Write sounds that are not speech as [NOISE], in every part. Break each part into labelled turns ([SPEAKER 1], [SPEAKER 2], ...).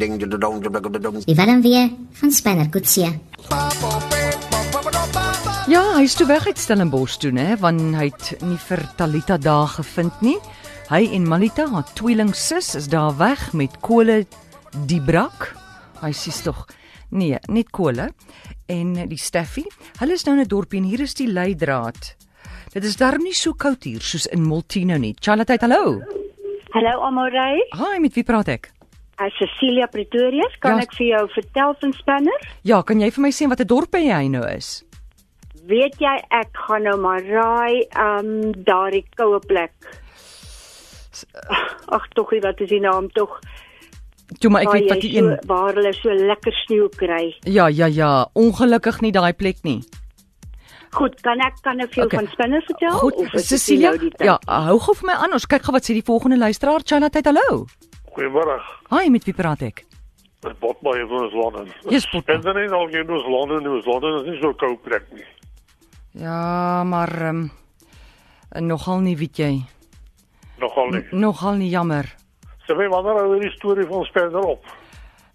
[SPEAKER 1] Die warm weer van Spanner Kutsie.
[SPEAKER 2] Ja, hy's toe weg uit Stellenbosch toe, hè, want hy het nie vir Talita daar gevind nie. Hy en Malita, haar tweelingsus, is daar weg met Kole Dibrak. Hy sies tog. Nee, net Kole en die Steffie. Hulle is nou in 'n dorpie en hier is die leidraad. Dit is darm nie so koud hier soos in Multino nie. Charlotte, hallo.
[SPEAKER 3] Hallo Amorey,
[SPEAKER 2] Hi, met wie praat ek?
[SPEAKER 3] as Cecilia Pretorius kan
[SPEAKER 2] Ja.
[SPEAKER 3] ek vir jou vertel van Spanner.
[SPEAKER 2] Ja, kan jy vir my sê watter dorp hy nou is?
[SPEAKER 3] Weet jy ek gaan nou maar raai um daardie koue plek. Ag tog, wat is die naam tog?
[SPEAKER 2] Toe maar ek
[SPEAKER 3] Waar
[SPEAKER 2] weet wat
[SPEAKER 3] jy
[SPEAKER 2] die een
[SPEAKER 3] so, waar hulle so lekker sneeu kry.
[SPEAKER 2] Ja, ja, ja, ongelukkig nie daai plek nie.
[SPEAKER 3] Goed, kan ek kan ek vir jou
[SPEAKER 2] Okay.
[SPEAKER 3] okay. van Spanner vertel
[SPEAKER 2] Goed,
[SPEAKER 3] of is dit
[SPEAKER 2] Cecilia,
[SPEAKER 3] vir jou die tyd?
[SPEAKER 2] ja, hou gou vir my aan. Ons kyk gou wat sê die volgende luisteraar. Charlotte, hallo.
[SPEAKER 4] Goeiemôre.
[SPEAKER 2] Hi, met wie praat ek?
[SPEAKER 4] Dit bot baie van ons Londen.
[SPEAKER 2] Yes, Botbaai.
[SPEAKER 4] En dan in al jy ons Londen, ons Londen is nie so koud plek nie.
[SPEAKER 2] Ja, maar ehm um, nogal nie, weet jy.
[SPEAKER 4] Nogal nie.
[SPEAKER 2] Nogal nie jammer.
[SPEAKER 4] So baie wanneer hou hierdie storie van Spencer op.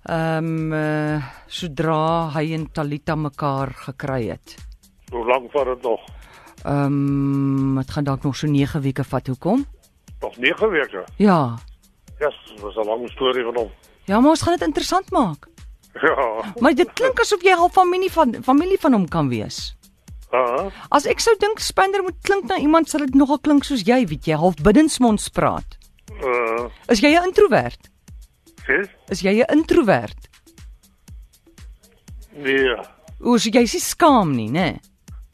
[SPEAKER 2] Ehm um, uh, sodra hy en Talita mekaar gekry het.
[SPEAKER 4] Hoe lank vat dit nog?
[SPEAKER 2] Ehm um, dit gaan dalk nog so 9 weke vat hoekom?
[SPEAKER 4] Nog 9 weke.
[SPEAKER 2] Ja.
[SPEAKER 4] Ja, yes, was 'n lang storie van hom. [LAUGHS]
[SPEAKER 2] Ja, maar ons gaan dit interessant maak.
[SPEAKER 4] Ja.
[SPEAKER 2] Maar dit klink asof jy half familie van familie van hom kan wees.
[SPEAKER 4] Ah,
[SPEAKER 2] As ek sou dink Spender moet klink na iemand sal dit nogal klink soos jy, weet jy, half biddensmonds praat.
[SPEAKER 4] uh,
[SPEAKER 2] Is jy 'n introwert?
[SPEAKER 4] sien?
[SPEAKER 2] Is jy 'n introwert?
[SPEAKER 4] Nee,
[SPEAKER 2] O, so jy's nie skaam nie, né?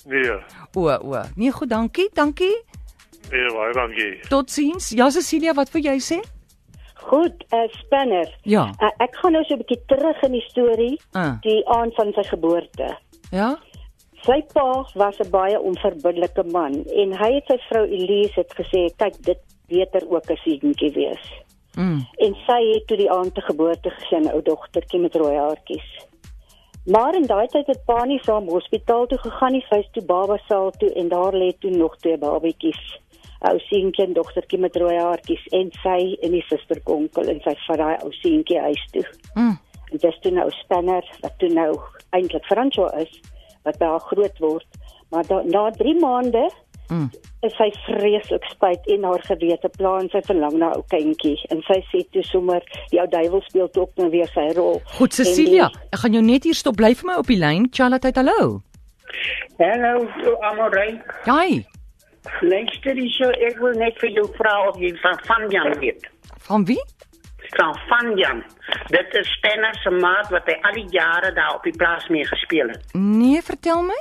[SPEAKER 4] nee,
[SPEAKER 2] O, o. Nee, goed, dankie, dankie.
[SPEAKER 4] nee, baie dankie.
[SPEAKER 2] Totsiens. Ja, Cecilia, wat wil jy sê?
[SPEAKER 3] Goed, uh, Spanner.
[SPEAKER 2] Ja.
[SPEAKER 3] Uh, ek gaan nou so 'n bietjie terug in die storie
[SPEAKER 2] Ah.
[SPEAKER 3] die aand van sy geboorte.
[SPEAKER 2] Ja?
[SPEAKER 3] Sy pa was 'n baie onverbiddelike man en hy het sy vrou Elise het gesê, "Kyk, dit beter ook 'n seentjie wees."
[SPEAKER 2] Mm.
[SPEAKER 3] En sy het toe die aand te geboorte gesien 'n ou dogtertjie met rooi haartjies. Maar in daai tyd het pa nie saam hospitaal toe gegaan nie, sy's toe baba saal toe en daar lê toe nog twee babatjies. 'n Ou seentjie en dogtertjie met rooi haartjies en sy en die suster konkel en sy vat daai ou seentjie huis toe.
[SPEAKER 2] Mm.
[SPEAKER 3] En dis toe nou Spanner wat toe nou eintlik Franco is wat by haar groot word. Maar da, na 3 maande
[SPEAKER 2] Mm.
[SPEAKER 3] is sy vreeslik spyt en haar gewete pla en sy verlang na ou kindjie en sy sê toe sommer jou duiwel speel toe ook nou weer sy rol.
[SPEAKER 2] Goed, Cecilia, ek gaan jou net hier stop. Bly vir my op die lyn. Charlotte, hallo. Ja,
[SPEAKER 5] Hallo, Amorey.
[SPEAKER 2] Hi.
[SPEAKER 5] Luister hierso, ek wil net vir jou vra of jy van Vanjan weet.
[SPEAKER 2] Van wie?
[SPEAKER 5] Van Vanjan. Dit is Stenner se maat wat hy al die jare daar op die plaas mee gespeel het.
[SPEAKER 2] Nee, vertel my.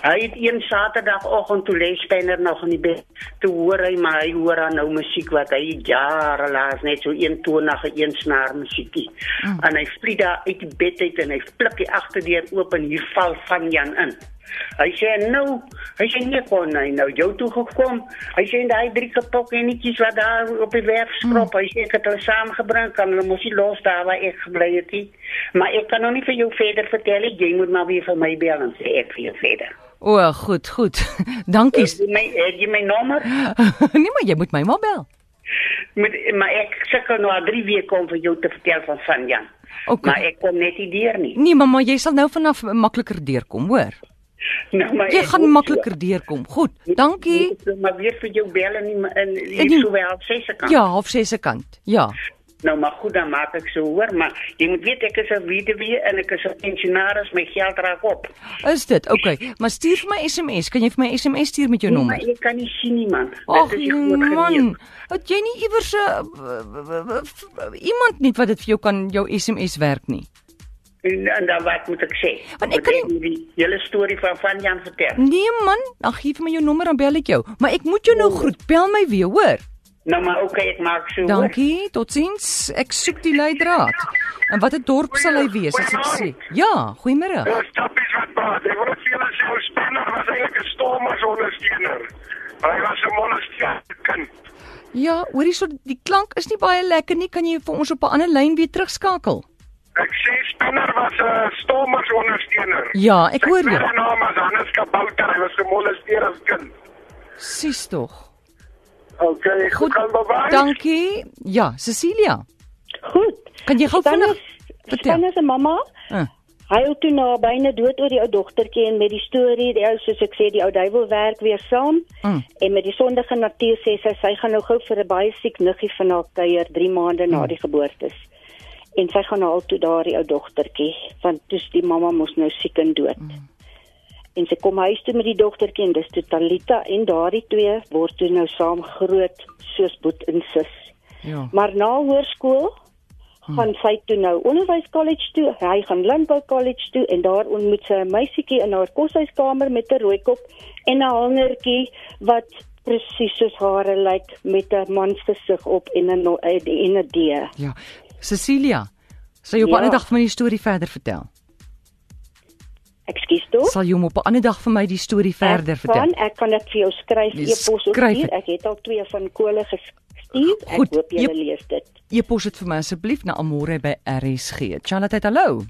[SPEAKER 5] Hy het een Saterdagoggend toe lê Stenner nog in die bed. Toe hoor hy maar hy hoor aan nou musiek wat hy jare lank net so eentonige eensnaar musiekie. Mm. En hy vlieg daar uit die bed uit en hy flik die agterdeur oop en hier val Vanjan in. Hy sê nou, hy sê nie kon hy nou jou toe gekom. Hy sê daai drie kapokkennetjies wat daar op die werf skrop, hy sê ek het hulle saamgebring, kan hulle mos nie los daar waar ek gebly het nie. Maar ek kan nou nie vir jou verder vertel nie, jy moet maar weer vir my bel en sê ek vir jou verder.
[SPEAKER 2] O, goed, goed. [LAUGHS] dankie.
[SPEAKER 5] Is my het jy my nommer?
[SPEAKER 2] [LAUGHS] nee, maar jy moet my maar bel.
[SPEAKER 5] Met, maar ek sukkel nou al 3 weke om vir jou te vertel van Sanjan.
[SPEAKER 2] OK.
[SPEAKER 5] Maar ek kom net nie deur nie. [LAUGHS]
[SPEAKER 2] Nee, mamma, jy sal nou vanaf makliker deurkom, hoor.
[SPEAKER 5] Nou maar
[SPEAKER 2] Jy
[SPEAKER 5] ek hoop
[SPEAKER 2] gaan
[SPEAKER 5] so.
[SPEAKER 2] makliker deurkom. Goed, dankie.
[SPEAKER 5] Moet ek nou Maar weer vir jou bel en in
[SPEAKER 2] En die-
[SPEAKER 5] hier sou wel sê se kan.
[SPEAKER 2] Ja, half 6 se kant. Ja.
[SPEAKER 5] Nou maar goed, dan maak ek so hoor, maar jy moet weet ek is 'n weduwee en ek is 'n pensionaris, my geld raak op.
[SPEAKER 2] Is dit? Okay, maar stuur vir my SMS. Kan jy vir my 'n SMS stuur met jou
[SPEAKER 5] Nee, Maar
[SPEAKER 2] nommer?
[SPEAKER 5] ek kan nie sien nie man.
[SPEAKER 2] Ag
[SPEAKER 5] Dit is die groot genees.
[SPEAKER 2] man, het jy nie iewers 'n iemand nie wat dit vir jou kan jou SMS werk nie.
[SPEAKER 5] En, en dan wat moet ek sê?
[SPEAKER 2] Want ek kan
[SPEAKER 5] Moet die hele storie van van Jan vertel.
[SPEAKER 2] Nee man, dan gee vir my jou nommer dan bel ek jou. Maar ek moet jou nou
[SPEAKER 5] Nee.
[SPEAKER 2] groet. Bel my weer, hoor.
[SPEAKER 5] Nou maar okay, ek maak so hoor.
[SPEAKER 2] Dankie, totsiens. Ek soek die leidraad. En watter dorp sal hy wees as ek sê? Ja, goeiemôre.
[SPEAKER 6] Ons tappies wat praat. Ek wil vir julle sê ons spanner was eintlik 'n stormersondersteuner. Hy was 'n molesteerde kind.
[SPEAKER 2] Ja, hoor hierso, die klank is nie baie lekker nie. Kan jy vir ons op 'n ander lyn weer terugskakel?
[SPEAKER 6] Ek sê spanner was 'n stormersondersteuner.
[SPEAKER 2] Ja, ek hoor
[SPEAKER 6] Sy
[SPEAKER 2] jou.
[SPEAKER 6] tweede naam was Hannes Kabouter. Hy was 'n molesteerde kind.
[SPEAKER 2] Sis tog.
[SPEAKER 6] Okay,
[SPEAKER 2] Goed.
[SPEAKER 6] kan bewaar.
[SPEAKER 2] Dankie. Ja, Cecilia. Kan jy gou vinnig vertel?
[SPEAKER 3] Spanne se mamma
[SPEAKER 2] Uh,
[SPEAKER 3] Hy het toe na byna dood oor die ou dogtertjie en met die storie, die ou soos ek sê, die ou duiwel werk weer saam.
[SPEAKER 2] Mm.
[SPEAKER 3] En met die sondige natuur sê sy sy gaan nou gou vir 'n baie siek niggie van haar kuier 3 maande na die geboortes. En sy gaan haal toe daardie ou dogtertjie, want toe's die mamma mos nou siek en dood. Mm. En sy kom huis toe met die dogtertjie en dis toe Talita en daardie twee word toe nou saam groot soos boet en sis.
[SPEAKER 2] ja.
[SPEAKER 3] Maar na hoërskool gaan sy toe nou onderwys college toe. Hy gaan landbou college toe en daar ontmoet sy 'n meisietjie in haar koshuiskamer met 'n rooi kop en 'n hangertjie wat presies soos hare lyk met 'n man se gesig op en 'n no- en 'n deer.
[SPEAKER 2] Ja. Cecilia, sal jy op 'n
[SPEAKER 3] Ja.
[SPEAKER 2] ander dag vir my die storie verder vertel?
[SPEAKER 3] Ekskuus toe.
[SPEAKER 2] Sal jy hom op 'n ander dag vir my die storie verder
[SPEAKER 3] ek kan,
[SPEAKER 2] vertel?
[SPEAKER 3] Ek kan dit vir jou skryf
[SPEAKER 2] Nee,
[SPEAKER 3] e-pos of
[SPEAKER 2] skryf
[SPEAKER 3] stuur.
[SPEAKER 2] dit.
[SPEAKER 3] Ek het al twee van Kole gestuur. Ek
[SPEAKER 2] Goed,
[SPEAKER 3] hoop jy
[SPEAKER 2] e-
[SPEAKER 3] lees dit.
[SPEAKER 2] E-pos dit vir my asseblief na amore@rsg. Charlotte, hallo.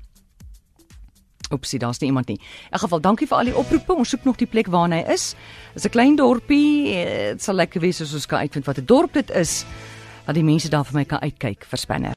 [SPEAKER 2] Oepsie, daar's nie iemand nie. In elk geval, dankie vir al die oproepe. Ons soek nog die plek waar hy is. Dis 'n klein dorpie. Eh, Dit sal lekker wees as ons kan uitvind wat 'n dorp dit is. Dat die mense daar vir my kan uitkyk vir spanne.